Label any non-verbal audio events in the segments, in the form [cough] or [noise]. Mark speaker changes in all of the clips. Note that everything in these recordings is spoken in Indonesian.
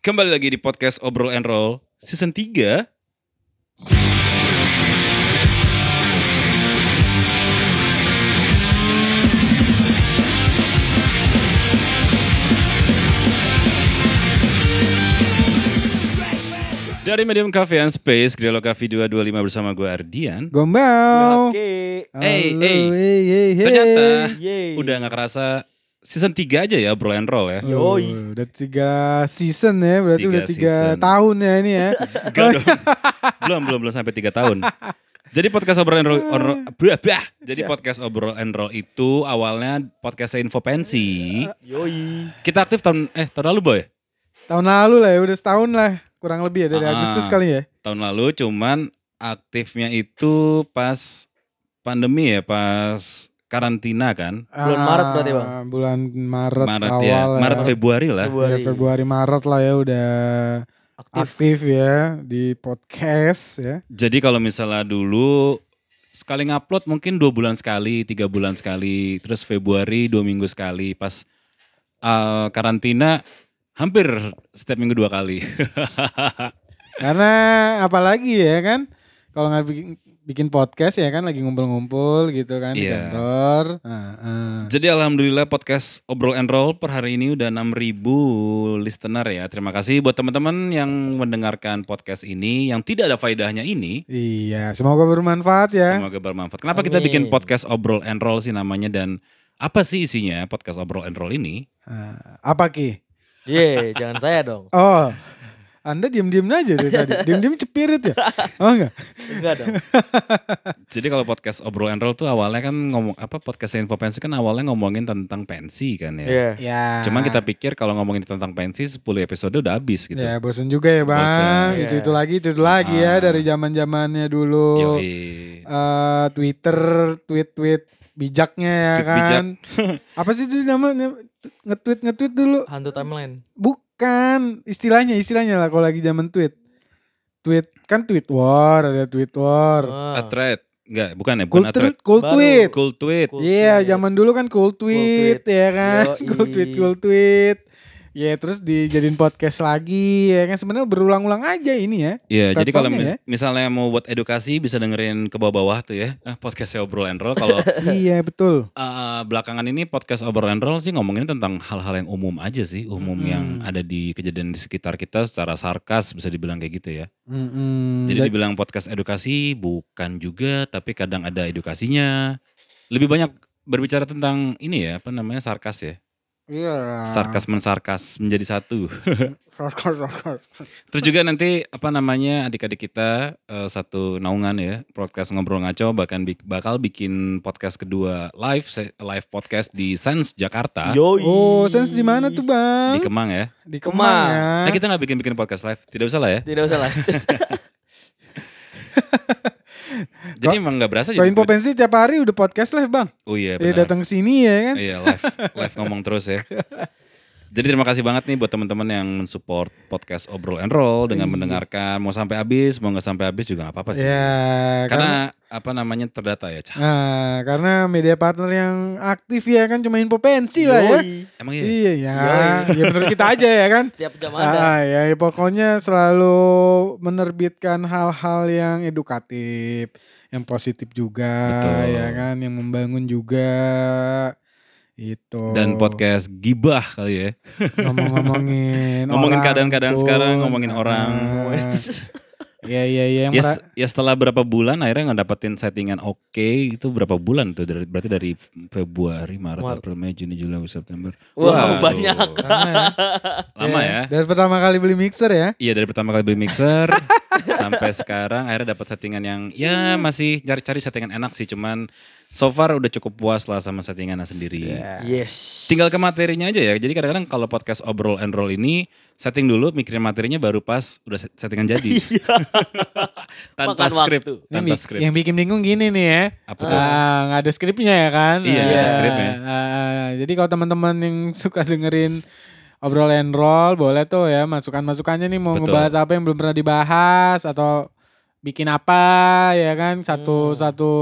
Speaker 1: Kembali lagi di podcast Obrol and Roll season 3. Dari Medium Cafe and Space, Griolo Cafe 225 bersama gue Ardian.
Speaker 2: Gombau.
Speaker 3: Oke.
Speaker 1: Hey, hey.
Speaker 2: Halo, hey, hey, hey.
Speaker 1: Ternyata
Speaker 3: Yeay.
Speaker 1: udah gak kerasa season 3 aja ya Obrol and Roll ya.
Speaker 2: Oh,
Speaker 3: Yoi.
Speaker 2: udah tiga season ya, berarti
Speaker 1: Tiga
Speaker 2: udah tiga
Speaker 1: season.
Speaker 2: tahun ya ini
Speaker 1: [laughs]
Speaker 2: ya.
Speaker 1: Enggak dong. belum, belum, belum sampai 3 tahun. Jadi podcast obrol and roll, on, bah, bah. Jadi podcast obrol and roll itu awalnya podcastnya info pensi.
Speaker 3: Yoi.
Speaker 1: Kita aktif tahun eh tahun lalu boy,
Speaker 2: Tahun lalu lah ya, udah setahun lah kurang lebih ya dari
Speaker 1: Ah.
Speaker 2: Agustus kali ya.
Speaker 1: tahun lalu cuman aktifnya itu pas pandemi ya, pas karantina kan,
Speaker 3: Bulan Maret berarti, Bang?
Speaker 2: Ah, Bulan Maret,
Speaker 1: Maret
Speaker 2: awal
Speaker 1: ya, Maret Februari lah.
Speaker 2: Ya,
Speaker 3: Februari.
Speaker 2: Februari Maret lah ya udah
Speaker 3: Aktif.
Speaker 2: aktif ya di podcast ya.
Speaker 1: Jadi kalau misalnya dulu sekali ngupload mungkin dua bulan sekali, tiga bulan sekali, terus Februari dua minggu sekali, pas eh, karantina hampir setiap minggu dua kali. [laughs]
Speaker 2: Karena apalagi ya kan, kalau nggak bikin, bikin podcast ya kan lagi ngumpul-ngumpul gitu kan di
Speaker 1: Iya.
Speaker 2: kantor. Ah, ah.
Speaker 1: Jadi alhamdulillah podcast obrol and roll per hari ini udah 6.000 listener ya. Terima kasih buat teman-teman yang mendengarkan podcast ini yang tidak ada faedahnya ini.
Speaker 2: Iya, semoga bermanfaat ya.
Speaker 1: Semoga bermanfaat. Kenapa kita
Speaker 3: Amin.
Speaker 1: bikin podcast obrol and roll sih namanya dan apa sih isinya podcast obrol and roll ini?
Speaker 2: Ah, apa ki?
Speaker 3: Yeay, jangan saya dong.
Speaker 2: Oh, Anda diem-diem aja
Speaker 1: [laughs]
Speaker 2: dari tadi. Diem-diem cepirit ya? Oh enggak?
Speaker 3: Enggak dong.
Speaker 1: Jadi kalau podcast obrol and roll tuh awalnya kan ngomong apa podcast info pensi kan awalnya ngomongin tentang pensi kan ya.
Speaker 3: Iya.
Speaker 2: Ya.
Speaker 1: Cuman kita pikir kalau ngomongin tentang pensi 10 episode udah habis gitu.
Speaker 2: Ya bosen juga ya bang.
Speaker 1: Bosen. iya.
Speaker 2: Itu itu lagi, itu itu lagi
Speaker 1: Ah.
Speaker 2: ya dari zaman zamannya dulu.
Speaker 1: Yoi.
Speaker 2: eh, Twitter, tweet-tweet bijaknya ya
Speaker 1: Tweet
Speaker 2: kan. [laughs] Apa sih itu namanya? Nge-tweet nge-tweet dulu.
Speaker 3: Hantu timeline.
Speaker 2: Bukan istilahnya istilahnya lah kalau lagi zaman tweet. Tweet kan tweet war, ada tweet war.
Speaker 1: A
Speaker 3: Ah.
Speaker 1: thread. Enggak, bukan ya, bukan
Speaker 2: Cool
Speaker 1: a thread.
Speaker 2: tweet, cool
Speaker 3: Baru.
Speaker 2: tweet.
Speaker 1: Cool tweet.
Speaker 3: Cool
Speaker 2: Iya,
Speaker 3: tweet.
Speaker 2: zaman dulu kan cool tweet, ya kan.
Speaker 3: Yoi.
Speaker 2: cool tweet, cool tweet. Ya terus dijadiin podcast lagi ya kan sebenarnya berulang-ulang aja ini ya.
Speaker 1: Iya, jadi kalau
Speaker 2: Platformnya
Speaker 1: mis- misalnya mau buat edukasi bisa dengerin ke bawah-bawah tuh ya. Ah, podcast obrol and roll
Speaker 2: [laughs]
Speaker 1: kalau
Speaker 2: iya, betul.
Speaker 1: eh, belakangan ini podcast obrol and roll sih ngomongin tentang hal-hal yang umum aja sih, umum
Speaker 2: Mm-mm.
Speaker 1: yang ada di kejadian di sekitar kita secara sarkas bisa dibilang kayak gitu ya.
Speaker 2: Mm-mm.
Speaker 1: Jadi
Speaker 2: Jadi-
Speaker 1: dibilang podcast edukasi bukan juga, tapi kadang ada edukasinya. Lebih banyak berbicara tentang ini ya, apa namanya sarkas ya,
Speaker 2: Iya.
Speaker 1: sarkas mensarkas menjadi satu.
Speaker 2: Sarkas, sarkas.
Speaker 1: Terus juga nanti apa namanya adik-adik kita eh, satu naungan ya podcast ngobrol ngaco bahkan bi- bakal bikin podcast kedua live se- live podcast di Sense Jakarta
Speaker 3: Yoi.
Speaker 2: Oh, sense di mana tuh,
Speaker 1: di
Speaker 2: Bang?
Speaker 1: Kemang ya.
Speaker 2: Di
Speaker 3: Kemang.
Speaker 2: Kemang.
Speaker 1: Eh
Speaker 2: ya.
Speaker 1: kita nggak bikin bikin podcast live tidak usah lah ya.
Speaker 3: Tidak usah [laughs] lah.
Speaker 1: Jadi emang nggak berasa
Speaker 2: Kalau
Speaker 1: jadi.
Speaker 2: info pensi tiap hari udah podcast live, Bang.
Speaker 1: Oh iya
Speaker 2: Iya,
Speaker 1: benar.
Speaker 2: datang sini ya kan.
Speaker 1: Iya live live ngomong terus ya. Jadi terima kasih banget nih buat teman-teman yang mensupport podcast obrol and roll dengan mendengarkan mau sampai habis mau nggak sampai habis juga nggak apa-apa sih.
Speaker 2: Iya, karena
Speaker 1: Karena apa namanya terdata ya. Cah.
Speaker 2: Nah, karena media partner yang aktif ya kan cuma info pensi lah ya.
Speaker 3: Yoi.
Speaker 1: Emang iya.
Speaker 2: Iya ya,
Speaker 3: Yoi.
Speaker 2: ya bener kita aja ya kan.
Speaker 3: Setiap jam ada.
Speaker 2: Ah, ya, ya, pokoknya selalu menerbitkan hal-hal yang edukatif, yang positif juga,
Speaker 1: Betul.
Speaker 2: ya kan, yang membangun juga. gitu. Itu.
Speaker 1: dan podcast gibah kali ya. [laughs]
Speaker 2: ngomong-ngomongin
Speaker 1: Ngomongin
Speaker 2: orang
Speaker 1: keadaan-keadaan
Speaker 2: pun.
Speaker 1: sekarang, ngomongin
Speaker 2: Ah,
Speaker 1: orang.
Speaker 2: Iya iya iya. yang
Speaker 1: Ya,
Speaker 2: mera-
Speaker 1: se- ya setelah berapa bulan akhirnya nggak dapetin settingan oke itu berapa bulan tuh dari berarti dari Februari, Maret,
Speaker 3: Maret.
Speaker 1: April, Mei, Juni, Juli, Agustus, September. Waduh.
Speaker 3: Wah, banyak.
Speaker 2: Lama ya.
Speaker 1: Lama ya.
Speaker 2: Dari pertama kali beli mixer ya.
Speaker 1: Iya dari pertama kali beli mixer [laughs] sampai sekarang akhirnya dapat settingan yang ya
Speaker 2: Iya.
Speaker 1: masih cari-cari settingan enak sih cuman so far udah cukup puas lah sama settingannya sendiri.
Speaker 2: Iya.
Speaker 3: Yes.
Speaker 1: Tinggal ke materinya aja ya. Jadi kadang-kadang kalau podcast obrol and roll ini setting dulu mikirin materinya baru pas udah set- settingan
Speaker 2: [laughs]
Speaker 1: jadi. tanpa
Speaker 3: Makan
Speaker 1: skrip,
Speaker 3: waktu.
Speaker 2: Iya. Ini
Speaker 1: tanpa
Speaker 2: bi-
Speaker 1: skrip.
Speaker 2: Yang bikin bingung gini nih ya.
Speaker 1: Apa tuh?
Speaker 2: Ah, nggak ada skripnya ya kan?
Speaker 1: Iya, nggak ada skripnya.
Speaker 2: ah, jadi kalau teman-teman yang [laughs] suka dengerin obrol and roll boleh tuh ya masukan-masukannya nih mau
Speaker 1: Betul.
Speaker 2: ngebahas apa yang belum pernah
Speaker 1: Hmm.
Speaker 2: dibahas atau bikin apa ya kan satu satu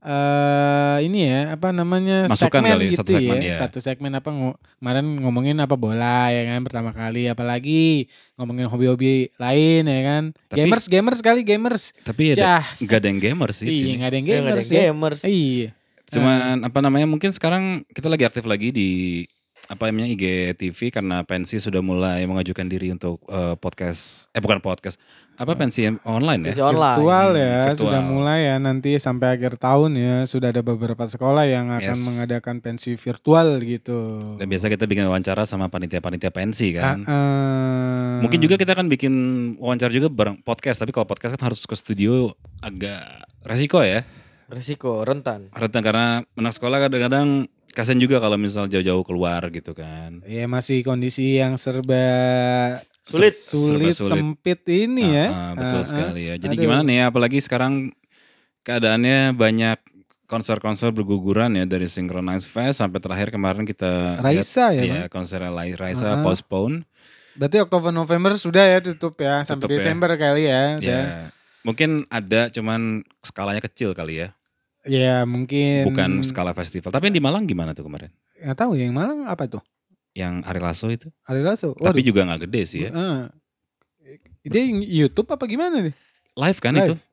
Speaker 2: eh eh ini ya apa namanya
Speaker 1: Masukan
Speaker 2: segmen
Speaker 1: kali,
Speaker 2: gitu
Speaker 1: satu segmen,
Speaker 2: ya.
Speaker 1: ya.
Speaker 2: satu segmen apa ngo- kemarin ngomongin apa bola ya kan pertama kali apalagi ngomongin hobi-hobi lain ya kan
Speaker 1: Tapi-
Speaker 2: gamers gamers kali gamers
Speaker 1: Tapi ada
Speaker 2: Cah,
Speaker 1: nggak ada yang gamer sih di
Speaker 2: iya
Speaker 1: sini.
Speaker 2: nggak ada yang
Speaker 3: Nggak ada
Speaker 2: gamers ya.
Speaker 3: gamers.
Speaker 2: iya
Speaker 1: Cuman apa namanya mungkin sekarang kita lagi aktif lagi di apa namanya IGTV karena pensi sudah mulai mengajukan diri untuk eh, podcast eh bukan podcast apa pensi yang online ya
Speaker 3: Bisa online.
Speaker 2: virtual ya
Speaker 1: virtual.
Speaker 2: sudah mulai ya nanti sampai akhir tahun ya sudah ada beberapa sekolah yang akan
Speaker 1: Yes.
Speaker 2: mengadakan pensi virtual gitu
Speaker 1: dan biasa kita bikin wawancara sama panitia-panitia pensi kan
Speaker 2: Ah, ah.
Speaker 1: mungkin juga kita akan bikin wawancara juga bareng podcast tapi kalau podcast kan harus ke studio agak resiko ya
Speaker 3: Resiko rentan.
Speaker 1: Rentan karena anak sekolah kadang-kadang kasian juga kalau misal jauh-jauh keluar gitu kan.
Speaker 2: ya masih kondisi yang serba
Speaker 3: Sulit.
Speaker 2: sulit,
Speaker 1: Serba sulit.
Speaker 2: sempit ini ya
Speaker 1: Ah, ah, betul
Speaker 2: Ah, ah.
Speaker 1: sekali ya. Jadi
Speaker 2: Aduh.
Speaker 1: gimana nih ya, apalagi sekarang keadaannya banyak konser-konser berguguran ya dari Synchronize Fest sampai terakhir kemarin kita
Speaker 2: Raisa
Speaker 1: lihat,
Speaker 2: ya,
Speaker 1: iya,
Speaker 2: Bang?
Speaker 1: konser Lai- Raisa
Speaker 2: Ah.
Speaker 1: postpone.
Speaker 2: Berarti Oktober November sudah ya tutup ya sampai
Speaker 1: Tutup ya.
Speaker 2: Desember kali ya. udah.
Speaker 1: Ya. Mungkin ada cuman skalanya kecil kali ya.
Speaker 2: Ya mungkin
Speaker 1: Bukan skala festival. Tapi yang di Malang gimana tuh kemarin?
Speaker 2: nggak tahu ya, yang Malang apa tuh?
Speaker 1: Yang Ari Lasso itu.
Speaker 2: Ari Lasso.
Speaker 1: Tapi juga nggak gede sih ya.
Speaker 2: Heeh. Eh, Dia YouTube apa gimana nih?
Speaker 1: Live kan itu?
Speaker 2: Live.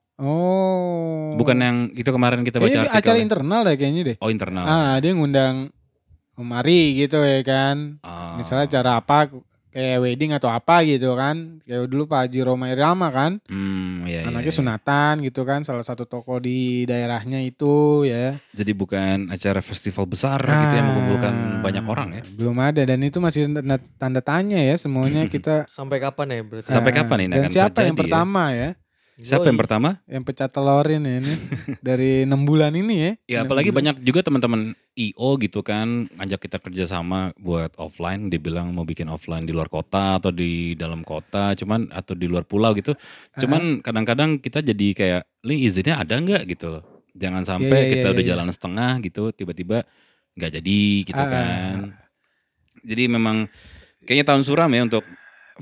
Speaker 2: Oh.
Speaker 1: Bukan yang itu kemarin kita baca
Speaker 2: Kayaknya
Speaker 1: artikel.
Speaker 2: dia
Speaker 1: ya? kan?
Speaker 2: acara internal deh kayaknya deh.
Speaker 1: oh internal.
Speaker 2: Ah, dia ngundang Mari gitu ya kan.
Speaker 1: Ah.
Speaker 2: Misalnya acara apa kayak wedding atau apa gitu kan. Kayak dulu Pak Haji Roma Irama kan.
Speaker 1: Hmm, iya, iya,
Speaker 2: Anaknya
Speaker 1: iya.
Speaker 2: sunatan gitu kan salah satu toko di daerahnya itu ya.
Speaker 1: Jadi bukan acara festival besar
Speaker 2: Ah.
Speaker 1: gitu yang mengumpulkan banyak orang ya.
Speaker 2: Belum ada dan itu masih tanda, tanda tanya ya semuanya kita.
Speaker 3: Sampai kapan ya berarti?
Speaker 1: Hmm. Sampai
Speaker 2: Ah,
Speaker 1: kapan ini
Speaker 2: Dan
Speaker 1: akan
Speaker 2: siapa
Speaker 1: terjadi
Speaker 2: yang
Speaker 1: ya?
Speaker 2: pertama ya?
Speaker 1: Siapa yang pertama?
Speaker 2: Yang pecah telorin ya
Speaker 1: [laughs]
Speaker 2: ini dari enam bulan ini ya?
Speaker 1: Ya
Speaker 2: Enam
Speaker 1: apalagi
Speaker 2: bulan.
Speaker 1: banyak juga teman-teman IO gitu kan ngajak kita kerjasama buat offline. Dibilang mau bikin offline di luar kota atau di dalam kota, cuman atau di luar pulau gitu.
Speaker 2: Ah.
Speaker 1: Cuman kadang-kadang kita jadi kayak, li izinnya ada nggak gitu loh. Jangan sampai
Speaker 2: iya,
Speaker 1: kita
Speaker 2: iya,
Speaker 1: udah
Speaker 2: iya.
Speaker 1: jalan setengah gitu, tiba-tiba nggak jadi gitu
Speaker 2: Ah.
Speaker 1: kan. Jadi memang kayaknya tahun suram ya untuk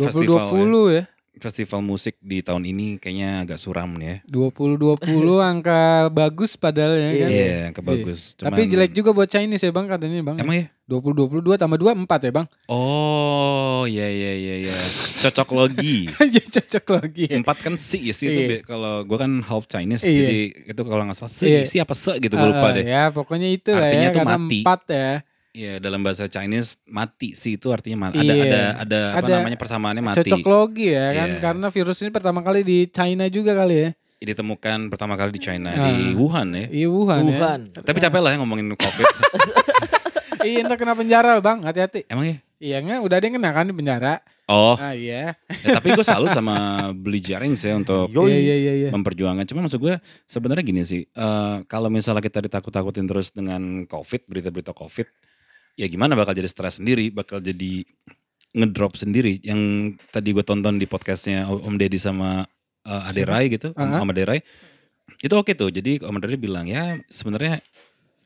Speaker 1: festival. ya.
Speaker 2: 2020 ya.
Speaker 1: festival musik di tahun ini kayaknya agak suram ya.
Speaker 2: Hmm.
Speaker 1: [laughs]
Speaker 2: 2020 angka bagus padahal ya kan.
Speaker 1: Iya,
Speaker 3: Iya.
Speaker 1: yang kebagus.
Speaker 2: Tapi jelek juga buat Chinese ya Bang katanya Bang.
Speaker 1: Emang ya?
Speaker 2: 2022 tambah 2 4 ya Bang. [laughs]
Speaker 1: Oh, iya iya iya iya. Cocok logi.
Speaker 2: [laughs] Ya cocok lagi ya.
Speaker 1: Empat kan si ya, si itu
Speaker 2: Iya.
Speaker 1: be- kalau gua kan half Chinese
Speaker 2: Iya.
Speaker 1: jadi itu kalau nggak salah si
Speaker 2: Iya.
Speaker 1: si apa se gitu gue lupa
Speaker 2: Ah,
Speaker 1: deh.
Speaker 2: Ya pokoknya itu lah
Speaker 1: Artinya
Speaker 2: ya
Speaker 1: tuh
Speaker 2: karena
Speaker 1: mati.
Speaker 2: 4 ya.
Speaker 1: Iya dalam bahasa Chinese mati si itu artinya mati. Ada
Speaker 2: Iya.
Speaker 1: ada ada apa
Speaker 2: Ada
Speaker 1: namanya persamaannya mati.
Speaker 2: Cocok lagi ya kan
Speaker 1: Iya.
Speaker 2: karena virus ini pertama kali di China juga kali ya.
Speaker 1: Ditemukan pertama kali di China
Speaker 2: Ah.
Speaker 1: di Wuhan ya.
Speaker 2: Iya Wuhan, ya.
Speaker 3: Wuhan.
Speaker 1: Tapi capek lah ya ngomongin covid.
Speaker 2: [laughs] Iya ntar kena penjara bang, hati-hati.
Speaker 1: Emang ya?
Speaker 2: Iya nggak, udah ada yang kena kan di penjara.
Speaker 1: Oh,
Speaker 2: Ah iya. [laughs]
Speaker 1: ya, tapi gue salut sama beli jaring sih untuk
Speaker 3: Yoi.
Speaker 2: Iya iya iya. iya.
Speaker 1: memperjuangkan. Cuma maksud gue sebenarnya gini sih, eh, kalau misalnya kita ditakut-takutin terus dengan COVID, berita-berita COVID, ya gimana bakal jadi stres sendiri, bakal jadi ngedrop sendiri. Yang tadi gue tonton di podcastnya Om Deddy sama eh, Ade Rai gitu, Om-
Speaker 2: Aha.
Speaker 1: Om Ade Rai, itu oke tuh. Jadi Om Ade Rai bilang ya sebenarnya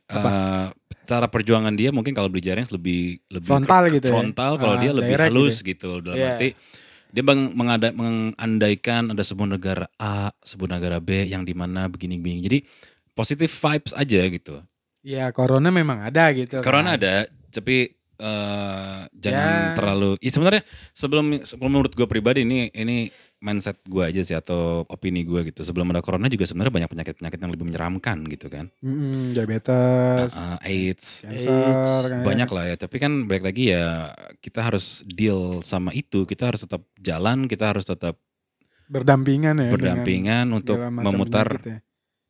Speaker 1: eh, cara perjuangan dia mungkin kalau beli jaring lebih lebih
Speaker 2: Frontal gitu ya?
Speaker 1: frontal kalau
Speaker 2: Ah,
Speaker 1: dia lebih
Speaker 2: direct gitu
Speaker 1: halus
Speaker 2: ya?
Speaker 1: gitu dalam
Speaker 3: Iya.
Speaker 1: arti dia bang mengada, mengandaikan ada sebuah negara A, sebuah negara B yang dimana begini-begini. Jadi positif vibes aja gitu.
Speaker 2: Iya corona memang ada gitu.
Speaker 1: Corona
Speaker 2: kan.
Speaker 1: ada, tapi eh, jangan
Speaker 2: Ya.
Speaker 1: terlalu. Ya sebenarnya sebelum sebelum menurut gue pribadi ini ini mindset gue aja sih atau opini gue gitu. Sebelum ada corona juga sebenarnya banyak penyakit-penyakit yang lebih menyeramkan gitu kan.
Speaker 2: Mm-mm, diabetes,
Speaker 1: Eh, AIDS,
Speaker 2: cancer, kan, ya.
Speaker 1: banyak lah ya tapi kan balik lagi ya kita harus deal sama itu kita harus tetap jalan kita harus tetap
Speaker 2: berdampingan ya.
Speaker 1: Berdampingan
Speaker 2: dengan
Speaker 1: untuk
Speaker 2: segala macam
Speaker 1: memutar-
Speaker 2: penyakit ya.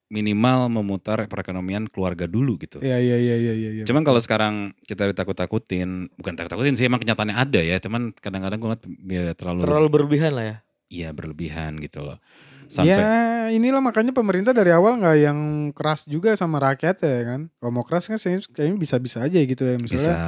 Speaker 1: minimal memutar perekonomian keluarga dulu gitu
Speaker 2: Iya iya iya iya iya. iya.
Speaker 1: cuman kalau sekarang kita ditakut-takutin bukan takut-takutin sih emang kenyataannya ada ya cuman kadang-kadang gue terlalu,
Speaker 3: Terlalu berlebihan lah ya.
Speaker 1: iya berlebihan gitu loh
Speaker 2: Ya
Speaker 1: sampai
Speaker 2: inilah makanya pemerintah dari awal nggak yang keras juga sama rakyat ya kan. Kalau mau keras kan saya- kayaknya bisa-bisa aja gitu ya
Speaker 1: bisa
Speaker 2: misalnya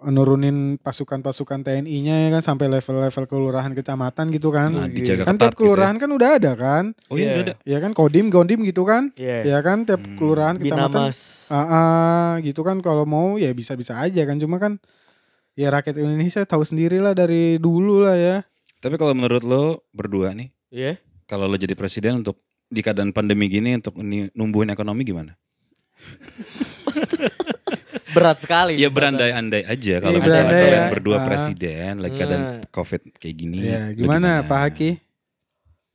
Speaker 2: nurunin pasukan-pasukan TNI-nya ya kan sampai level-level kelurahan kecamatan gitu kan.
Speaker 1: nah, dijaga
Speaker 2: kan
Speaker 1: ketat
Speaker 2: tiap kelurahan kan udah ada
Speaker 1: gitu
Speaker 2: kan
Speaker 1: ya. oh iya
Speaker 3: Iya.
Speaker 1: udah ada.
Speaker 2: ya kan kodim gondim gitu kan
Speaker 3: Iya.
Speaker 2: ya kan tiap
Speaker 1: Hmm.
Speaker 2: kelurahan kecamatan
Speaker 3: Binamas.
Speaker 2: ah, ah, gitu kan kalau mau ya bisa bisa aja kan cuma kan ya rakyat Indonesia tahu sendiri lah dari dulu lah ya
Speaker 1: tapi kalau menurut lo berdua nih
Speaker 3: Iya.
Speaker 1: kalau lo jadi presiden untuk di keadaan pandemi gini untuk ini numbuhin ekonomi gimana
Speaker 3: Berat sekali.
Speaker 1: Ya berandai-andai aja kalau
Speaker 2: Iya,
Speaker 1: misalnya
Speaker 2: berandai
Speaker 1: kalian
Speaker 2: ya.
Speaker 1: berdua
Speaker 2: Ah.
Speaker 1: presiden lagi keadaan covid kayak gini.
Speaker 2: Iya, gimana Pak Haki?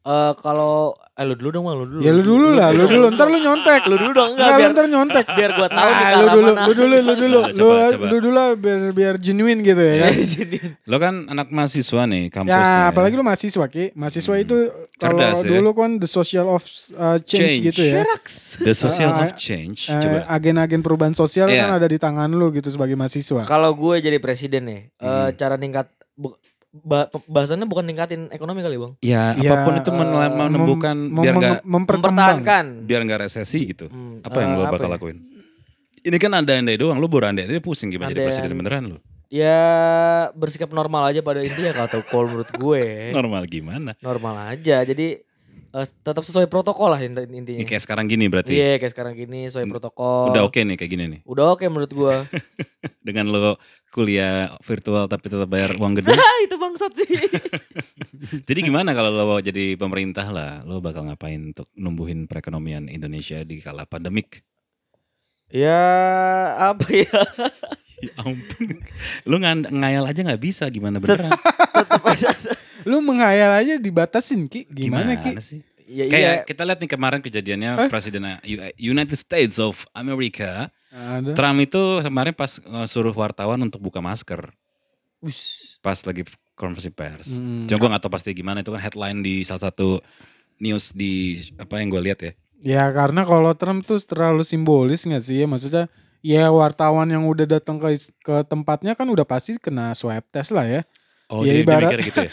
Speaker 3: Eh, kalau eh, lu dulu dong, Bang, lu dulu.
Speaker 2: Ya lu dulu lah, lu dulu. Ntar lu nyontek.
Speaker 3: Lu dulu dong, enggak,
Speaker 2: Enggak, lu
Speaker 3: biar-
Speaker 2: ntar nyontek.
Speaker 3: biar gua tahu
Speaker 2: Ah,
Speaker 3: nih ke
Speaker 2: lu
Speaker 3: arah
Speaker 2: dulu,
Speaker 3: mana. [laughs]
Speaker 2: lu dulu, lu dulu,
Speaker 1: Coba,
Speaker 2: lu,
Speaker 1: coba.
Speaker 2: lu dulu lah biar, biar genuine gitu ya kan.
Speaker 3: Jadi
Speaker 1: Lo kan anak mahasiswa nih kampusnya.
Speaker 2: Ya, apalagi lu mahasiswa ki, mahasiswa itu
Speaker 1: Cerdas, ya.
Speaker 2: kalau dulu kan the social of uh, change,
Speaker 1: Change.
Speaker 2: gitu ya.
Speaker 1: The social
Speaker 2: Ah,
Speaker 1: of change.
Speaker 2: Eh,
Speaker 1: Coba.
Speaker 2: Agen-agen perubahan sosial
Speaker 1: Iya.
Speaker 2: kan ada di tangan lu gitu sebagai mahasiswa.
Speaker 3: Nah, kalau gue jadi presiden nih, eh,
Speaker 2: Hmm.
Speaker 3: cara ningkat bu- ba- bahasannya bukan ningkatin ekonomi kali, Bang.
Speaker 1: Ya
Speaker 2: Ya,
Speaker 1: apapun itu
Speaker 2: eh,
Speaker 1: menel- menemukan
Speaker 2: mem-
Speaker 1: biar
Speaker 2: mem-
Speaker 1: nggak
Speaker 2: mempertahankan.
Speaker 3: Mempertahankan.
Speaker 1: biar nggak resesi gitu.
Speaker 3: Hmm,
Speaker 1: Apa yang
Speaker 3: eh,
Speaker 1: lo
Speaker 3: apa
Speaker 1: bakal
Speaker 3: ya?
Speaker 1: lakuin? Ini kan ada andai doang, lo baru andai andai pusing gimana jadi
Speaker 3: Andai-
Speaker 1: presiden beneran lo.
Speaker 3: Ya bersikap normal aja pada intinya kalau kalau menurut
Speaker 2: Iya.
Speaker 3: gue.
Speaker 1: Normal gimana?
Speaker 3: Normal aja. Jadi eh, tetap sesuai protokol lah inti- intinya.
Speaker 1: Ya, kayak sekarang gini berarti.
Speaker 3: Iya, kayak sekarang gini
Speaker 2: Hmm,
Speaker 3: sesuai
Speaker 2: Iya.
Speaker 3: protokol.
Speaker 1: Udah oke nih kayak gini nih. [laughs]
Speaker 3: Udah oke menurut
Speaker 2: [laughs]
Speaker 3: gua.
Speaker 1: Dengan lo kuliah virtual tapi tetap bayar uang gedung.
Speaker 3: Hah, Ah, itu bangsat sih.
Speaker 2: [laughs]
Speaker 1: jadi gimana kalau lo mau jadi pemerintah lah? Lo bakal ngapain untuk numbuhin perekonomian Indonesia di kala pandemik?
Speaker 3: ya, apa ya?
Speaker 1: Ya ampun. [laughs] Lo ngand- ngayal aja nggak bisa gimana beneran.
Speaker 3: Tetap aja.
Speaker 2: Lu menghayal aja dibatasin ki, gimana, ki?
Speaker 1: sih?
Speaker 3: Ya, iya.
Speaker 1: Kayak kita lihat nih kemarin kejadiannya presiden uh, U- United States of America,
Speaker 2: Aduh.
Speaker 1: Trump itu kemarin pas uh, suruh wartawan untuk buka masker
Speaker 3: Wis.
Speaker 1: pas lagi konversi pers. Cuma gue gak tau pasti gimana itu kan headline di salah satu news di apa yang gue lihat ya.
Speaker 2: Ya karena kalau Trump tuh terlalu simbolis nggak sih ya maksudnya ya wartawan yang udah datang ke ke tempatnya kan udah pasti kena swab test lah ya.
Speaker 1: Oh
Speaker 2: Ya,
Speaker 1: dia, dia
Speaker 2: ibarat-
Speaker 1: mikirnya gitu ya.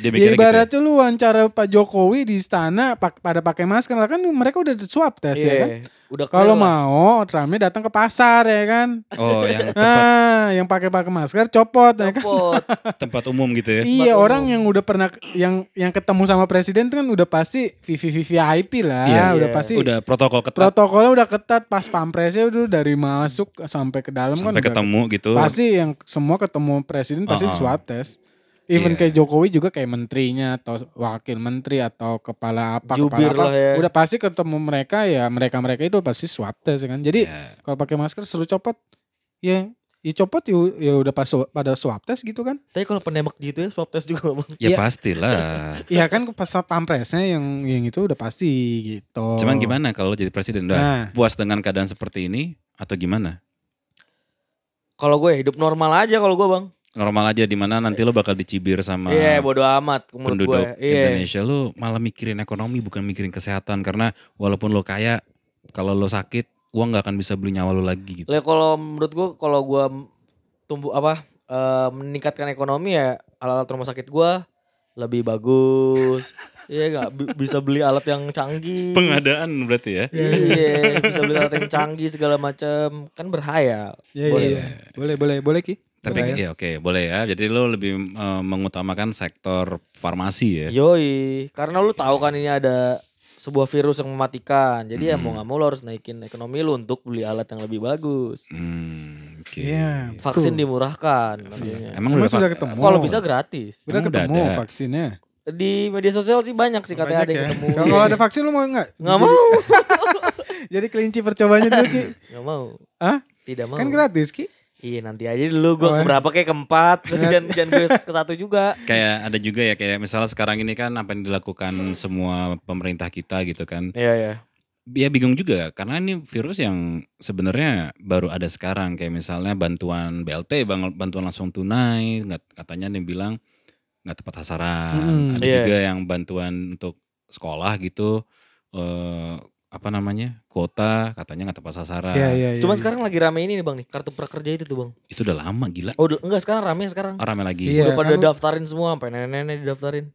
Speaker 1: Dia
Speaker 2: Ya
Speaker 1: mikirnya gitu.
Speaker 2: ibaratnya lu wawancara Pak Jokowi di istana pak- pada pakai masker lah kan mereka udah swab test ya
Speaker 3: Iya,
Speaker 2: kan.
Speaker 3: Udah
Speaker 2: Kalau
Speaker 3: clear lah.
Speaker 2: mau Trumpnya datang ke pasar ya kan.
Speaker 1: Ya. Oh yang tempat
Speaker 2: Ah, yang pakai pakai masker copot ya kan.
Speaker 3: Copot.
Speaker 1: tempat umum gitu ya.
Speaker 2: Iya
Speaker 3: Tempat
Speaker 2: orang yang udah pernah yang yang ketemu sama presiden tuh kan udah pasti VVVVIP lah,
Speaker 1: Iya,
Speaker 2: udah
Speaker 3: iya.
Speaker 2: pasti
Speaker 1: Udah protokol ketat
Speaker 2: protokolnya udah ketat pas pampresnya udah dari masuk sampai ke dalam
Speaker 1: sampai
Speaker 2: kan udah-
Speaker 1: ketemu gitu.
Speaker 2: pasti yang semua ketemu presiden pasti
Speaker 1: Uh-uh.
Speaker 2: swab test. Even
Speaker 1: Iya.
Speaker 2: kayak Jokowi juga kayak menterinya atau wakil menteri atau kepala apa
Speaker 3: Jubir
Speaker 2: kepala apa
Speaker 3: lah ya.
Speaker 2: udah pasti ketemu mereka ya mereka-mereka itu pasti swab test ya kan. Jadi
Speaker 1: Ya.
Speaker 2: kalau pakai masker suruh copot ya ya copot ya, ya udah pas pada swab test gitu kan.
Speaker 3: Tapi kalau penembak gitu ya swab test juga bang.
Speaker 1: Ya
Speaker 2: Iya.
Speaker 1: pastilah.
Speaker 2: Iya kan pas pampresnya yang yang itu udah pasti gitu.
Speaker 1: Cuman gimana kalau jadi presiden? Udah
Speaker 2: Nah.
Speaker 1: puas dengan keadaan seperti ini atau gimana?
Speaker 3: Kalau gue hidup normal aja kalau gue bang.
Speaker 1: normal aja di mana nanti lo bakal dicibir sama
Speaker 3: Iya bodo amat menurut
Speaker 1: penduduk
Speaker 3: gue. Iya.
Speaker 1: Indonesia lo malah mikirin ekonomi bukan mikirin kesehatan karena walaupun lo kaya kalau lo sakit uang nggak akan bisa beli nyawa lo lagi gitu.
Speaker 3: Lah kalau menurut gue kalau gue m- tumbuh apa eh, meningkatkan ekonomi ya alat-alat rumah sakit gue lebih
Speaker 1: [laughs]
Speaker 3: bagus. Iya nggak Bi- bisa beli alat yang canggih.
Speaker 1: Pengadaan berarti ya.
Speaker 3: Iya bisa beli alat yang canggih segala macam kan berhayal.
Speaker 2: Iya, iya, iya. Boleh boleh boleh Ki.
Speaker 1: Tapi
Speaker 2: Boleh.
Speaker 1: ya oke boleh ya. Jadi lo lebih eh, mengutamakan sektor farmasi
Speaker 2: Iya.
Speaker 1: ya.
Speaker 3: Yoi karena lu tahu kan ini ada sebuah virus yang mematikan. Jadi ya
Speaker 1: Hmm.
Speaker 3: mau nggak mau lu harus naikin ekonomi lu untuk beli alat yang lebih bagus.
Speaker 1: Hmm, oke.
Speaker 2: Iya. betul.
Speaker 3: Vaksin
Speaker 2: Iya.
Speaker 3: dimurahkan. namanya.
Speaker 1: Emang
Speaker 2: Emang
Speaker 1: udah
Speaker 2: sudah
Speaker 1: pak-
Speaker 2: ketemu?
Speaker 3: Kalau bisa gratis.
Speaker 2: Udah
Speaker 1: Emang udah
Speaker 2: ketemu
Speaker 1: ada?
Speaker 2: vaksinnya.
Speaker 3: Di media sosial sih banyak sih katanya ada
Speaker 2: Banyak
Speaker 3: yang
Speaker 2: ya.
Speaker 3: ketemu.
Speaker 2: Kalau kalau ada vaksin lu mau nggak?
Speaker 3: Nggak
Speaker 2: Jadi-
Speaker 3: mau.
Speaker 2: [laughs] Jadi kelinci percobanya dulu Ki.
Speaker 3: Nggak mau.
Speaker 2: Hah?
Speaker 3: Tidak mau.
Speaker 2: Kan gratis Ki.
Speaker 3: Iya nanti aja dulu gue
Speaker 2: Oh, ya. Iya.
Speaker 3: keberapa kayak keempat. [laughs] jangan, jangan gue ke satu juga.
Speaker 1: [laughs] Kayak ada juga ya kayak misalnya sekarang ini kan apa yang dilakukan semua pemerintah kita gitu kan.
Speaker 3: Iya ya.
Speaker 1: ya bingung juga karena ini virus yang sebenarnya baru ada sekarang kayak misalnya bantuan BLT bang- bantuan langsung tunai nggak katanya yang bilang nggak tepat sasaran
Speaker 2: Hmm,
Speaker 1: ada
Speaker 3: iya.
Speaker 1: juga yang bantuan untuk sekolah gitu eh, apa namanya kuota katanya nggak tepat sasaran
Speaker 2: Iya iya iya.
Speaker 3: Cuman
Speaker 2: iya.
Speaker 3: sekarang lagi rame ini nih bang nih kartu prakerja itu tuh bang.
Speaker 1: itu udah lama gila
Speaker 3: Oh udah- enggak sekarang rame sekarang.
Speaker 1: orang lagi
Speaker 2: Iya,
Speaker 3: udah pada
Speaker 2: kan-
Speaker 3: daftarin semua sampai nenek-nenek didaftarin.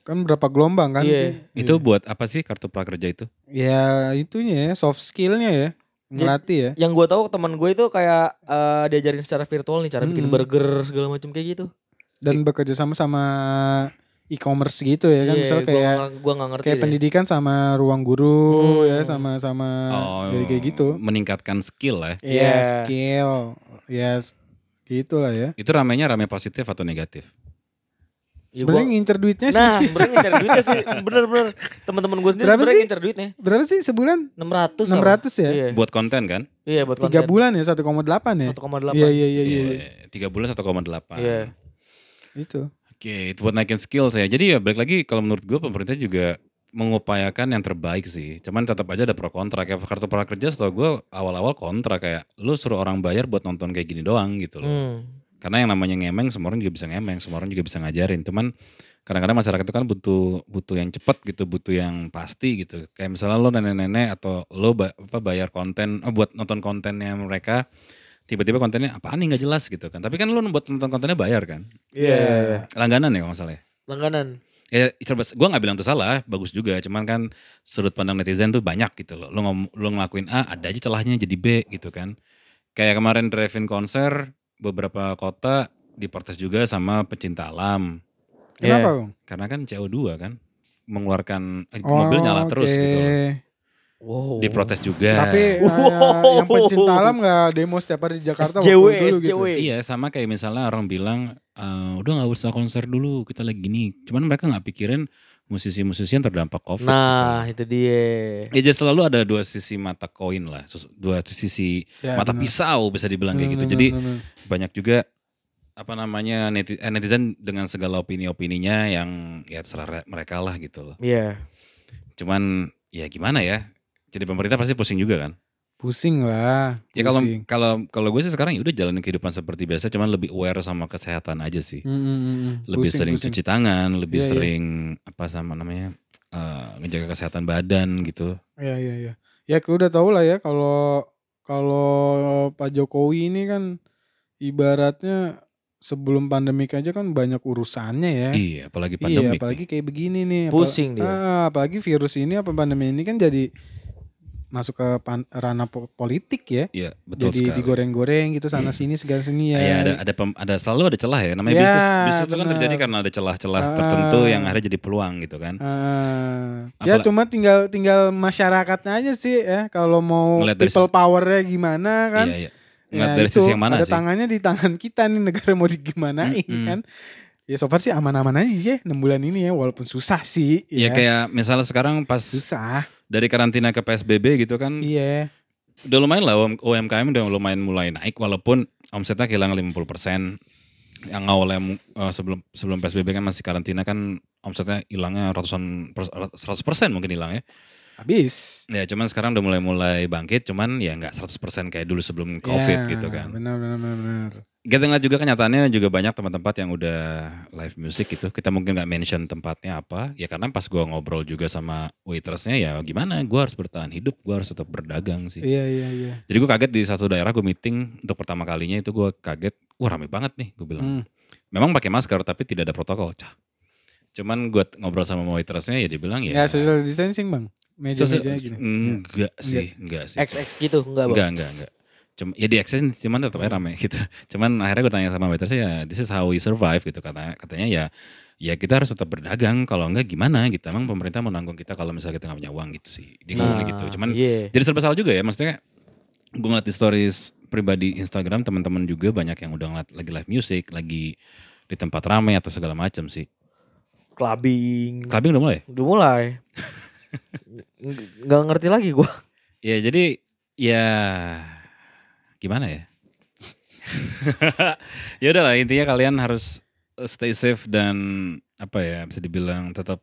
Speaker 2: kan berapa gelombang kan?
Speaker 3: Iya.
Speaker 2: Ki?
Speaker 1: itu buat apa sih kartu prakerja itu
Speaker 2: Ya itunya ya soft skillnya ya ngelatih ya.
Speaker 3: Yang gue tahu teman gue itu kayak eh, diajarin secara virtual nih cara bikin
Speaker 2: Mm-mm.
Speaker 3: burger segala macam kayak gitu.
Speaker 2: Dan bekerja sama sama e-commerce gitu ya kan. Misalnya kayak
Speaker 3: gue Iya, nggak ngerti.
Speaker 2: kayak
Speaker 3: deh. Iya,
Speaker 2: pendidikan sama ruang guru ya sama sama
Speaker 1: Hmm. Oh,
Speaker 2: jadi kayak gitu.
Speaker 1: meningkatkan skill lah
Speaker 2: Ya
Speaker 3: Iya.
Speaker 2: skill. Ya s- gitu lah ya.
Speaker 1: itu ramenya rame positif atau negatif
Speaker 3: Ya,
Speaker 2: Sebenarnya
Speaker 3: gua-
Speaker 2: ngincer duitnya
Speaker 3: nah,
Speaker 2: Eh, sih.
Speaker 3: sebenarnya ngincer duitnya sih. Bener-bener. Teman-teman gue sendiri
Speaker 2: Berapa
Speaker 3: sebenarnya
Speaker 2: sih?
Speaker 3: ngincer duitnya.
Speaker 2: Berapa sih sebulan?
Speaker 3: 600.
Speaker 2: 600 ya?
Speaker 3: Iya,
Speaker 1: buat konten kan?
Speaker 3: iya buat
Speaker 2: Tiga
Speaker 3: konten.
Speaker 2: bulan ya 1,8 ya?
Speaker 3: 1,8.
Speaker 2: Iya iya iya Gitu. iya.
Speaker 1: Iya, Tiga bulan 1,8.
Speaker 3: Iya.
Speaker 2: Itu.
Speaker 1: Oke, itu buat naikin skill saya. Jadi ya balik lagi kalau menurut gue pemerintah juga mengupayakan yang terbaik sih. Cuman tetap aja ada pro kontra. Kayak kartu prakerja setahu gue awal-awal kontra kayak lu suruh orang bayar buat nonton kayak gini doang gitu loh.
Speaker 3: Hmm.
Speaker 1: Karena yang namanya ngemeng semua orang juga bisa ngemeng, semua orang juga bisa ngajarin. Cuman kadang-kadang masyarakat itu kan butuh butuh yang cepat gitu, butuh yang pasti gitu. Kayak misalnya lo nenek-nenek atau lo ba- apa bayar konten eh, buat nonton kontennya mereka tiba-tiba kontennya apaan nih nggak jelas gitu kan. Tapi kan lo buat nonton kontennya bayar kan.
Speaker 3: Iya. iya, iya.
Speaker 1: Langganan ya kalau nggak salah ya?
Speaker 3: Langganan.
Speaker 1: ya serba, gue nggak bilang itu salah bagus juga cuman kan sudut pandang netizen tuh banyak gitu loh lo, ngom, lo ngelakuin A ada aja celahnya jadi B gitu kan kayak kemarin drive-in konser beberapa kota diprotes juga sama pecinta alam
Speaker 2: Kenapa,
Speaker 3: Iya.
Speaker 2: Bang?
Speaker 1: karena kan CO2 kan mengeluarkan eh, mobil nyala
Speaker 2: Oh, oke.
Speaker 1: terus gitu Iya. loh.
Speaker 3: Wow.
Speaker 1: diprotes juga
Speaker 2: Tapi eh,
Speaker 1: [laughs]
Speaker 3: Wow.
Speaker 2: yang pencinta alam nggak demo setiap hari di Jakarta
Speaker 3: SJW,
Speaker 2: waktu dulu gitu.
Speaker 3: SJW.
Speaker 1: Iya sama kayak misalnya orang bilang "Eh, udah nggak usah konser dulu kita lagi gini. Cuman mereka nggak pikirin musisi-musisi yang terdampak covid. gitu loh.
Speaker 3: Nah, itu dia.
Speaker 1: Ya jadi selalu ada dua sisi mata koin lah, sus- dua sisi
Speaker 2: Ya,
Speaker 1: mata
Speaker 2: benar. Hmm,
Speaker 1: pisau bisa dibilang kayak gitu.
Speaker 2: Benar,
Speaker 1: Jadi
Speaker 2: benar, benar.
Speaker 1: banyak juga apa namanya neti- eh, netizen dengan segala opini-opininya yang ya terserah re- mereka lah gitu loh.
Speaker 3: Iya.
Speaker 1: Cuman ya gimana ya? Jadi pemerintah pasti pusing juga kan?
Speaker 2: pusing lah.
Speaker 1: Ya kalau
Speaker 2: pusing.
Speaker 1: kalau kalau gue sih sekarang ya udah jalanin kehidupan seperti biasa, cuman lebih aware sama kesehatan aja sih.
Speaker 2: Mm, mm, mm, mm.
Speaker 1: Lebih
Speaker 2: Pusing,
Speaker 1: sering
Speaker 2: pusing.
Speaker 1: cuci tangan, lebih
Speaker 2: Iya, iya.
Speaker 1: sering apa sama namanya eh, ngejaga kesehatan badan gitu.
Speaker 2: Iya iya iya. Ya udah tau lah ya kalau kalau Pak Jokowi ini kan ibaratnya sebelum pandemik aja kan banyak urusannya ya.
Speaker 1: Iya, apalagi pandemi.
Speaker 2: Iya, apalagi kayak begini nih. apa-
Speaker 3: Pusing dia.
Speaker 2: Ah, apalagi virus ini apa pandemi ini kan jadi masuk ke pan- ranah po- politik ya.
Speaker 1: Iya, betul
Speaker 2: jadi
Speaker 1: sekali.
Speaker 2: digoreng-goreng gitu sana sini segala sini ya.
Speaker 1: Ya, ada ada pem- ada selalu ada celah ya namanya
Speaker 2: Ya,
Speaker 1: bisnis bisnis itu kan
Speaker 2: benar.
Speaker 1: terjadi karena ada celah-celah
Speaker 2: Ah. Iya,
Speaker 1: tertentu yang akhirnya jadi peluang gitu kan
Speaker 2: Ah, ya
Speaker 1: Apalagi-
Speaker 2: cuma tinggal tinggal masyarakatnya aja sih ya kalau mau
Speaker 1: Ngeliat dari
Speaker 2: people powernya gimana kan.
Speaker 1: iya iya nggak
Speaker 2: Ya,
Speaker 1: dari
Speaker 2: itu,
Speaker 1: sisi yang mana
Speaker 2: ada
Speaker 1: sih
Speaker 2: tangannya di tangan kita nih negara mau digimanain
Speaker 1: Mm-mm.
Speaker 2: kan. Ya so far sih aman-aman aja ya 6 bulan ini ya walaupun susah sih
Speaker 1: ya kayak misalnya sekarang pas
Speaker 2: susah.
Speaker 1: dari karantina ke psbb gitu kan
Speaker 2: Iya.
Speaker 1: udah lumayan lah UM- umkm udah lumayan mulai naik walaupun omsetnya kehilangan 50 yang awalnya mu- eh, sebelum sebelum psbb kan masih karantina kan omsetnya hilangnya ratusan pers- 100% mungkin hilang ya
Speaker 2: Habis.
Speaker 1: ya cuman sekarang udah mulai-mulai bangkit cuman ya nggak 100% kayak dulu sebelum covid
Speaker 2: Ya,
Speaker 1: gitu kan
Speaker 2: Benar benar benar. benar.
Speaker 1: Kita ngeliat juga kenyataannya juga banyak tempat-tempat yang udah live music gitu. Kita mungkin nggak mention tempatnya apa. Ya karena pas gua ngobrol juga sama waitersnya ya gimana. Gua harus bertahan hidup. Gua harus tetap berdagang sih.
Speaker 2: Iya iya iya.
Speaker 1: Jadi gua kaget di satu daerah gue meeting untuk pertama kalinya itu gua kaget. Wah rame banget nih gue bilang.
Speaker 2: Hmm.
Speaker 1: Memang pakai masker tapi tidak ada protokol. Cah. Cuman gua t- ngobrol sama waitersnya ya dia bilang ya.
Speaker 2: Ya social distancing Bang.
Speaker 1: sosial-
Speaker 2: Meja-mejanya gini. Ya,
Speaker 1: enggak sih, enggak sih.
Speaker 3: XX gitu enggak, Bang?
Speaker 1: Enggak, enggak, enggak. Cuma, ya di exchange cuman tetap aja rame [laughs] gitu. Cuman akhirnya gue tanya sama waitersnya ya this is how we survive gitu katanya. Katanya ya ya kita harus tetap berdagang kalau enggak gimana gitu. Emang pemerintah mau nanggung kita kalau misalnya kita nggak punya uang gitu sih. Dia ngomong gitu. Cuman
Speaker 3: iya.
Speaker 1: jadi serba salah juga ya maksudnya gue ngeliat di stories pribadi Instagram teman-teman juga banyak yang udah ngeliat lagi live music, lagi di tempat rame atau segala macam sih.
Speaker 3: clubbing.
Speaker 1: Clubbing udah mulai?
Speaker 3: Udah mulai. Enggak ngerti lagi gua.
Speaker 1: Ya jadi ya gimana ya? [laughs] ya udahlah intinya kalian harus eh, stay safe dan apa ya bisa dibilang tetap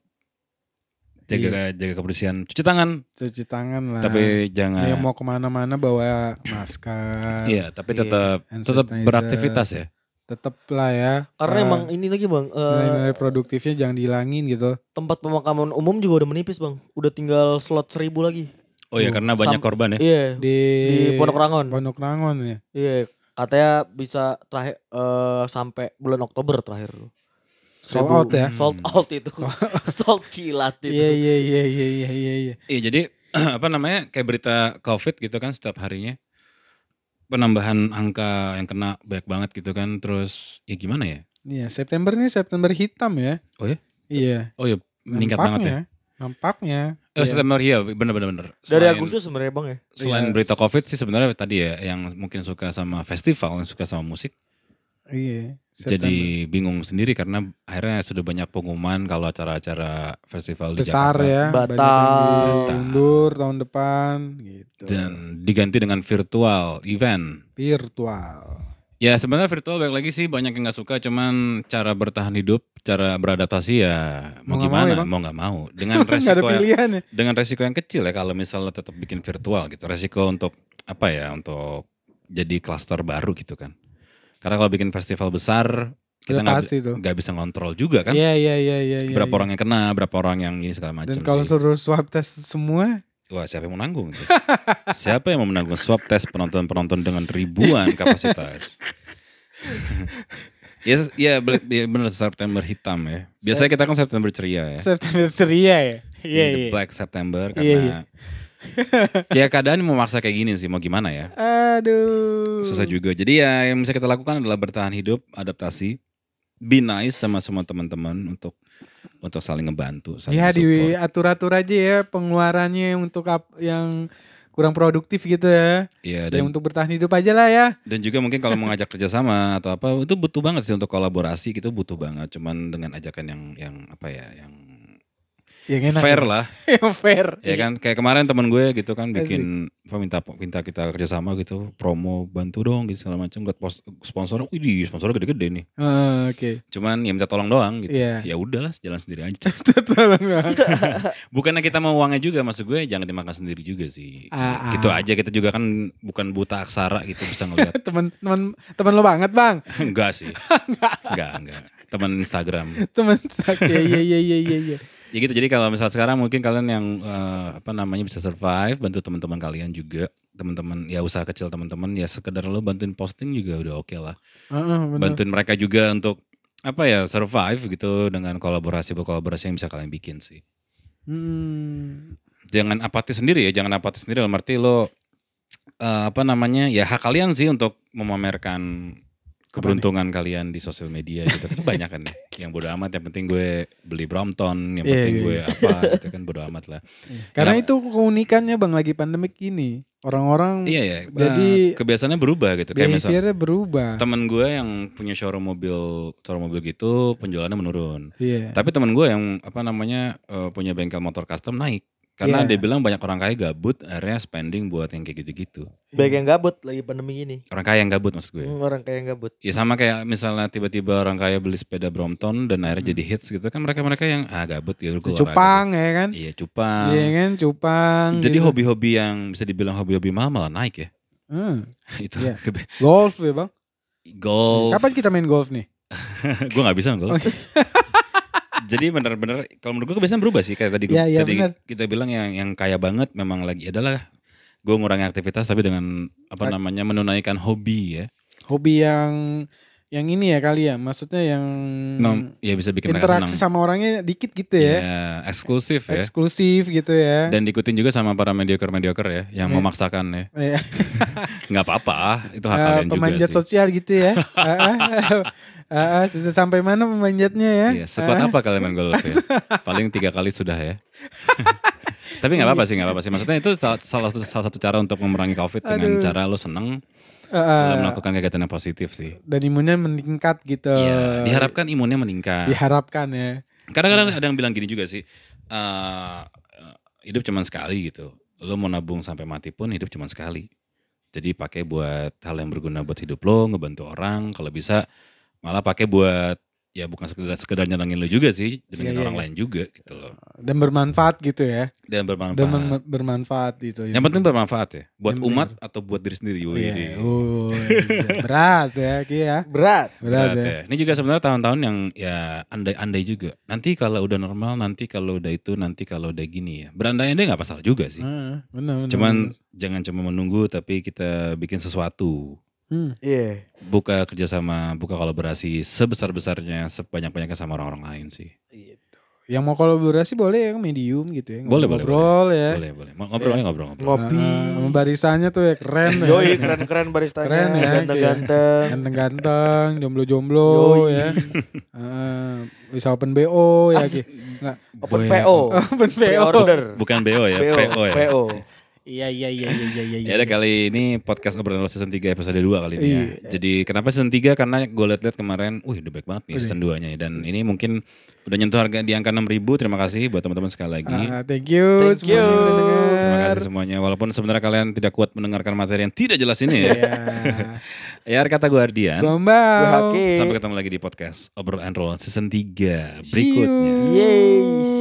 Speaker 2: Iya.
Speaker 1: jaga jaga kebersihan, cuci tangan
Speaker 2: Cuci tangan lah.
Speaker 1: tapi jangan
Speaker 2: yang Nah, iya, mau kemana-mana bawa masker.
Speaker 1: Iya, tapi
Speaker 3: Iya.
Speaker 1: tetap
Speaker 2: Hand
Speaker 1: tetap
Speaker 2: sanitizer.
Speaker 1: beraktivitas ya.
Speaker 2: Tetep lah ya.
Speaker 3: Karena
Speaker 2: eh,
Speaker 3: emang ini lagi, Bang. eh,
Speaker 2: nilai-nilai produktifnya jangan dihilangin gitu.
Speaker 3: tempat pemakaman umum juga udah menipis, Bang. Udah tinggal slot 1000 lagi.
Speaker 1: Oh ya
Speaker 2: Oh,
Speaker 1: karena banyak
Speaker 3: sam-
Speaker 1: korban ya.
Speaker 3: Iya.
Speaker 2: Di,
Speaker 3: Di Pondok Rangon.
Speaker 2: Pondok Rangon ya.
Speaker 3: Iya, katanya bisa terakhir eh, sampai bulan Oktober terakhir.
Speaker 2: Sold
Speaker 3: Seribu- hmm.
Speaker 2: out ya.
Speaker 3: Sold out itu. [laughs] Sold kilat itu.
Speaker 2: Iya iya iya iya iya iya. iya.
Speaker 1: Iya jadi [clears throat] apa namanya kayak berita COVID gitu kan setiap harinya penambahan angka yang kena banyak banget gitu kan terus ya gimana ya?
Speaker 2: Iya, September ini September hitam ya.
Speaker 1: Oh ya?
Speaker 2: Iya.
Speaker 1: Oh ya meningkat banget ya.
Speaker 2: nampaknya, Nampaknya.
Speaker 1: Oh,
Speaker 2: Iya.
Speaker 1: September iya benar-benar.
Speaker 3: Dari Agustus sebenarnya, Bang ya.
Speaker 1: selain
Speaker 2: Iya.
Speaker 1: berita COVID sih sebenarnya tadi ya yang mungkin suka sama festival, yang suka sama musik,
Speaker 2: Iya. September.
Speaker 1: Jadi bingung sendiri karena akhirnya sudah banyak pengumuman kalau acara-acara festival di
Speaker 2: besar
Speaker 1: Jakarta
Speaker 2: ya, banyak
Speaker 3: Batal.
Speaker 2: yang diundur tahun depan gitu.
Speaker 1: dan diganti dengan virtual event.
Speaker 2: Virtual.
Speaker 1: Ya sebenarnya virtual baik lagi sih banyak yang nggak suka cuman cara bertahan hidup, cara beradaptasi ya mau,
Speaker 2: Mau nggak
Speaker 1: gimana,
Speaker 2: mau ya, Bang?
Speaker 1: mau nggak mau
Speaker 2: [laughs]
Speaker 1: dengan
Speaker 2: Enggak
Speaker 1: [laughs]
Speaker 2: ada
Speaker 1: resiko yang,
Speaker 2: pilihan ya.
Speaker 1: dengan resiko yang kecil ya kalau misalnya tetap bikin virtual gitu resiko untuk apa ya untuk jadi klaster baru gitu kan karena kalau bikin festival besar kita
Speaker 2: Udah
Speaker 1: nggak
Speaker 2: pasti tuh.
Speaker 1: bi- nggak bisa ngontrol juga kan
Speaker 2: Iya iya iya iya. iya,
Speaker 1: berapa
Speaker 2: iya.
Speaker 1: orang yang kena berapa orang yang ini segala macam
Speaker 2: Dan kalau
Speaker 1: sih.
Speaker 2: suruh swab test semua,
Speaker 1: wah siapa yang mau nanggung tuh? siapa yang mau menanggung swab test penonton penonton dengan ribuan kapasitas [laughs] Ya, ya, be- ya bener September hitam ya. Biasanya kita kan September ceria ya.
Speaker 2: September ceria ya. Iya
Speaker 1: Ini
Speaker 2: iya.
Speaker 1: The Black September
Speaker 2: Iya, iya.
Speaker 1: karena [laughs] ya keadaan memaksa kayak gini sih mau gimana ya
Speaker 2: Aduh.
Speaker 1: susah juga jadi ya yang bisa kita lakukan adalah bertahan hidup adaptasi be nice sama semua teman-teman untuk untuk saling ngebantu saling
Speaker 2: Ya di
Speaker 1: support.
Speaker 2: atur-atur aja ya pengeluarannya untuk ap- yang kurang produktif gitu ya.
Speaker 1: Iya,
Speaker 2: Ya
Speaker 1: dan
Speaker 2: untuk bertahan hidup aja lah ya.
Speaker 1: dan juga mungkin kalau mengajak kerjasama atau apa itu butuh banget sih untuk kolaborasi gitu butuh banget cuman dengan ajakan yang yang apa ya yang
Speaker 2: Yang enak. ya.
Speaker 1: fair lah
Speaker 2: [laughs] yang fair.
Speaker 1: ya kan kayak kemarin teman gue gitu kan bikin apa, minta minta kita kerjasama gitu promo bantu dong gitu segala macam buat pos- sponsor wih sponsor gede-gede nih
Speaker 2: Heeh, Oh, Oke.
Speaker 1: cuman ya minta tolong doang gitu
Speaker 2: Iya.
Speaker 1: ya udahlah jalan
Speaker 2: [laughs]
Speaker 1: sendiri aja
Speaker 2: Tolong, Bang.
Speaker 1: [laughs] bukannya kita mau uangnya juga maksud gue jangan dimakan sendiri juga sih
Speaker 2: Ah, ah.
Speaker 1: gitu aja kita juga kan bukan buta aksara gitu bisa
Speaker 2: [laughs]
Speaker 1: ngelihat
Speaker 2: Eh, temen temen temen lo banget bang
Speaker 1: enggak sih enggak enggak teman Instagram
Speaker 2: [laughs] temen sak ya ya ya ya ya ya.
Speaker 1: ya gitu jadi kalau misal sekarang mungkin kalian yang eh, apa namanya bisa survive bantu teman-teman kalian juga teman-teman ya usaha kecil teman-teman ya sekedar lo bantuin posting juga udah oke lah
Speaker 2: Heeh, bener.
Speaker 1: bantuin mereka juga untuk apa ya survive gitu dengan kolaborasi kolaborasi yang bisa kalian bikin sih
Speaker 2: Hmm.
Speaker 1: jangan apatis sendiri ya jangan apatis sendiri dalam arti lo eh, apa namanya ya hak kalian sih untuk memamerkan keberuntungan kalian di sosial media gitu kan banyak
Speaker 2: [laughs]
Speaker 1: kan ya. yang bodo amat yang penting gue beli Brompton yang
Speaker 2: Iya,
Speaker 1: penting
Speaker 2: iya,
Speaker 1: gue apa gitu kan bodo amat lah
Speaker 2: karena
Speaker 1: Yang-
Speaker 2: itu keunikannya bang lagi pandemik gini orang-orang
Speaker 1: iya ya
Speaker 2: Hmm. Jadi-
Speaker 1: jadi kebiasaannya berubah gitu kayak misalnya
Speaker 2: behaviornya berubah
Speaker 1: temen gue yang punya showroom mobil showroom mobil gitu penjualannya menurun
Speaker 2: iya
Speaker 1: Tapi teman gue yang apa namanya eh, punya bengkel motor custom naik karena
Speaker 2: Iya.
Speaker 1: dia bilang banyak orang kaya gabut akhirnya spending buat yang kayak gitu-gitu.
Speaker 3: Banyak yang gabut lagi pandemi ini.
Speaker 1: Orang kaya yang gabut maksud gue.
Speaker 3: Hmm, Orang kayak yang gabut.
Speaker 1: Ya sama kayak misalnya tiba-tiba orang kaya beli sepeda Brompton dan akhirnya jadi hits gitu kan mereka-mereka yang ah gabut ya gue olahraga.
Speaker 2: Hmm. cupang ya kan
Speaker 1: Iya cupang.
Speaker 2: iya kan cupang
Speaker 1: Jadi
Speaker 2: gitu.
Speaker 1: hobi-hobi yang bisa dibilang hobi-hobi mahal malah naik ya. [laughs]
Speaker 2: Hmm,
Speaker 1: Itu
Speaker 2: Iya. golf ya bang
Speaker 1: [laughs] golf.
Speaker 2: kapan kita main golf nih
Speaker 1: [laughs] gue nggak bisa golf.
Speaker 2: [laughs]
Speaker 1: Jadi bener-bener kalau menurut gue kebiasaan berubah sih kayak tadi gue-
Speaker 2: Iya, iya,
Speaker 1: tadi
Speaker 2: bener.
Speaker 1: kita bilang yang yang kaya banget memang lagi adalah gue ngurangi aktivitas tapi dengan apa
Speaker 2: Ak- Hmm.
Speaker 1: namanya menunaikan hobi ya.
Speaker 2: hobi yang yang ini ya kali ya maksudnya yang
Speaker 1: Mem- ya bisa bikin mereka
Speaker 2: interaksi
Speaker 1: senang.
Speaker 2: sama orangnya dikit gitu ya,
Speaker 1: Ya, eksklusif ya.
Speaker 2: eksklusif gitu ya
Speaker 1: Dan diikutin juga sama para mediocre-mediocre ya yang memaksakan
Speaker 2: [laughs]
Speaker 1: ya.
Speaker 2: Iya.
Speaker 1: nggak apa-apa, itu hak
Speaker 2: Eh,
Speaker 1: kalian juga
Speaker 2: pemanjat
Speaker 1: sih.
Speaker 2: sosial gitu ya.
Speaker 1: [laughs]
Speaker 2: Ah, ah, ah, ah, Susah sampai mana pemanjatnya ya?
Speaker 1: Iya, sekuat apa kalian main golf
Speaker 2: [laughs]
Speaker 1: ya? Paling tiga kali sudah ya. [laughs] Tapi nggak apa-apa sih, nggak apa-apa sih. Maksudnya itu salah, salah satu salah satu cara untuk memerangi COVID dengan
Speaker 2: Aduh.
Speaker 1: cara lo seneng
Speaker 2: Ah, ah,
Speaker 1: dalam melakukan kegiatan yang positif sih.
Speaker 2: Dan imunnya meningkat gitu.
Speaker 1: Iya, diharapkan imunnya meningkat.
Speaker 2: Diharapkan ya.
Speaker 1: Kadang-kadang ada yang bilang gini juga sih, eh, hidup cuma sekali gitu. Lo mau nabung sampai mati pun hidup cuma sekali. Jadi pakai buat hal yang berguna buat hidup lo, ngebantu orang. Kalau bisa malah pakai buat ya bukan sekedar sekedar nyenengin lo juga sih, nyenengin
Speaker 2: Iya, iya,
Speaker 1: orang
Speaker 2: iya.
Speaker 1: lain juga gitu loh.
Speaker 2: Dan bermanfaat gitu ya.
Speaker 1: Dan bermanfaat.
Speaker 2: Dan mem- bermanfaat gitu.
Speaker 1: yang penting bermanfaat ya, buat
Speaker 2: Yang
Speaker 1: umat atau buat diri sendiri. Wih,
Speaker 2: Iya. Oh, iya. beras ya, Ki ya.
Speaker 3: Berat.
Speaker 1: Berat
Speaker 2: Beras ya.
Speaker 1: ya. Ini juga sebenarnya tahun-tahun yang ya andai-andai juga. Nanti kalau udah normal, nanti kalau udah itu, nanti kalau udah gini ya. Berandai-andai nggak masalah juga sih.
Speaker 2: Heeh, benar, benar,
Speaker 1: Cuman
Speaker 2: benar.
Speaker 1: jangan cuma menunggu, tapi kita bikin sesuatu.
Speaker 2: Hmm,
Speaker 3: Iya.
Speaker 1: Buka kerjasama, buka kolaborasi sebesar-besarnya, sebanyak-banyaknya sama orang-orang lain sih.
Speaker 2: yang mau kolaborasi boleh ya medium gitu ya.
Speaker 1: Boleh, boleh,
Speaker 2: Ngobrol ya.
Speaker 1: Boleh, boleh. Mau Ngobrol aja ngobrol, ngobrol.
Speaker 3: Ngopi.
Speaker 2: Ah, sama barisannya tuh ya keren
Speaker 1: [laughs]
Speaker 2: ya.
Speaker 3: Yoi keren-keren baristanya.
Speaker 2: Keren ya,
Speaker 3: Ganteng-ganteng.
Speaker 2: Ganteng-ganteng, jomblo-jomblo
Speaker 3: Yoi.
Speaker 2: ya. Heeh, bisa open BO ya Ki. Nggak,
Speaker 3: Open
Speaker 1: Boleh.
Speaker 3: PO.
Speaker 2: Open PO.
Speaker 3: Pre-order.
Speaker 1: Bukan BO ya, PO ya.
Speaker 3: PO.
Speaker 2: Iya iya iya iya iya iya.
Speaker 1: Ya udah kali ini podcast obrolan luar season 3 episode 2 kali ini ya.
Speaker 2: Iya.
Speaker 1: Jadi kenapa season 3 karena gue liat-liat kemarin, wih udah baik banget nih season 2-nya dan ini mungkin udah nyentuh harga di angka 6000. Terima kasih buat teman-teman sekali lagi.
Speaker 2: Ah, thank you
Speaker 3: Thank
Speaker 2: semuanya
Speaker 3: you.
Speaker 2: yang udah denger.
Speaker 1: Terima kasih semuanya. Walaupun sebenarnya kalian tidak kuat mendengarkan materi yang tidak jelas ini ya. [laughs] ya kata gue
Speaker 2: Ya.
Speaker 1: Ardian.
Speaker 2: Gombau.
Speaker 3: Gue hake.
Speaker 1: Sampai ketemu lagi di podcast obrolan roll season 3
Speaker 2: See you.
Speaker 1: berikutnya.
Speaker 3: Yeay.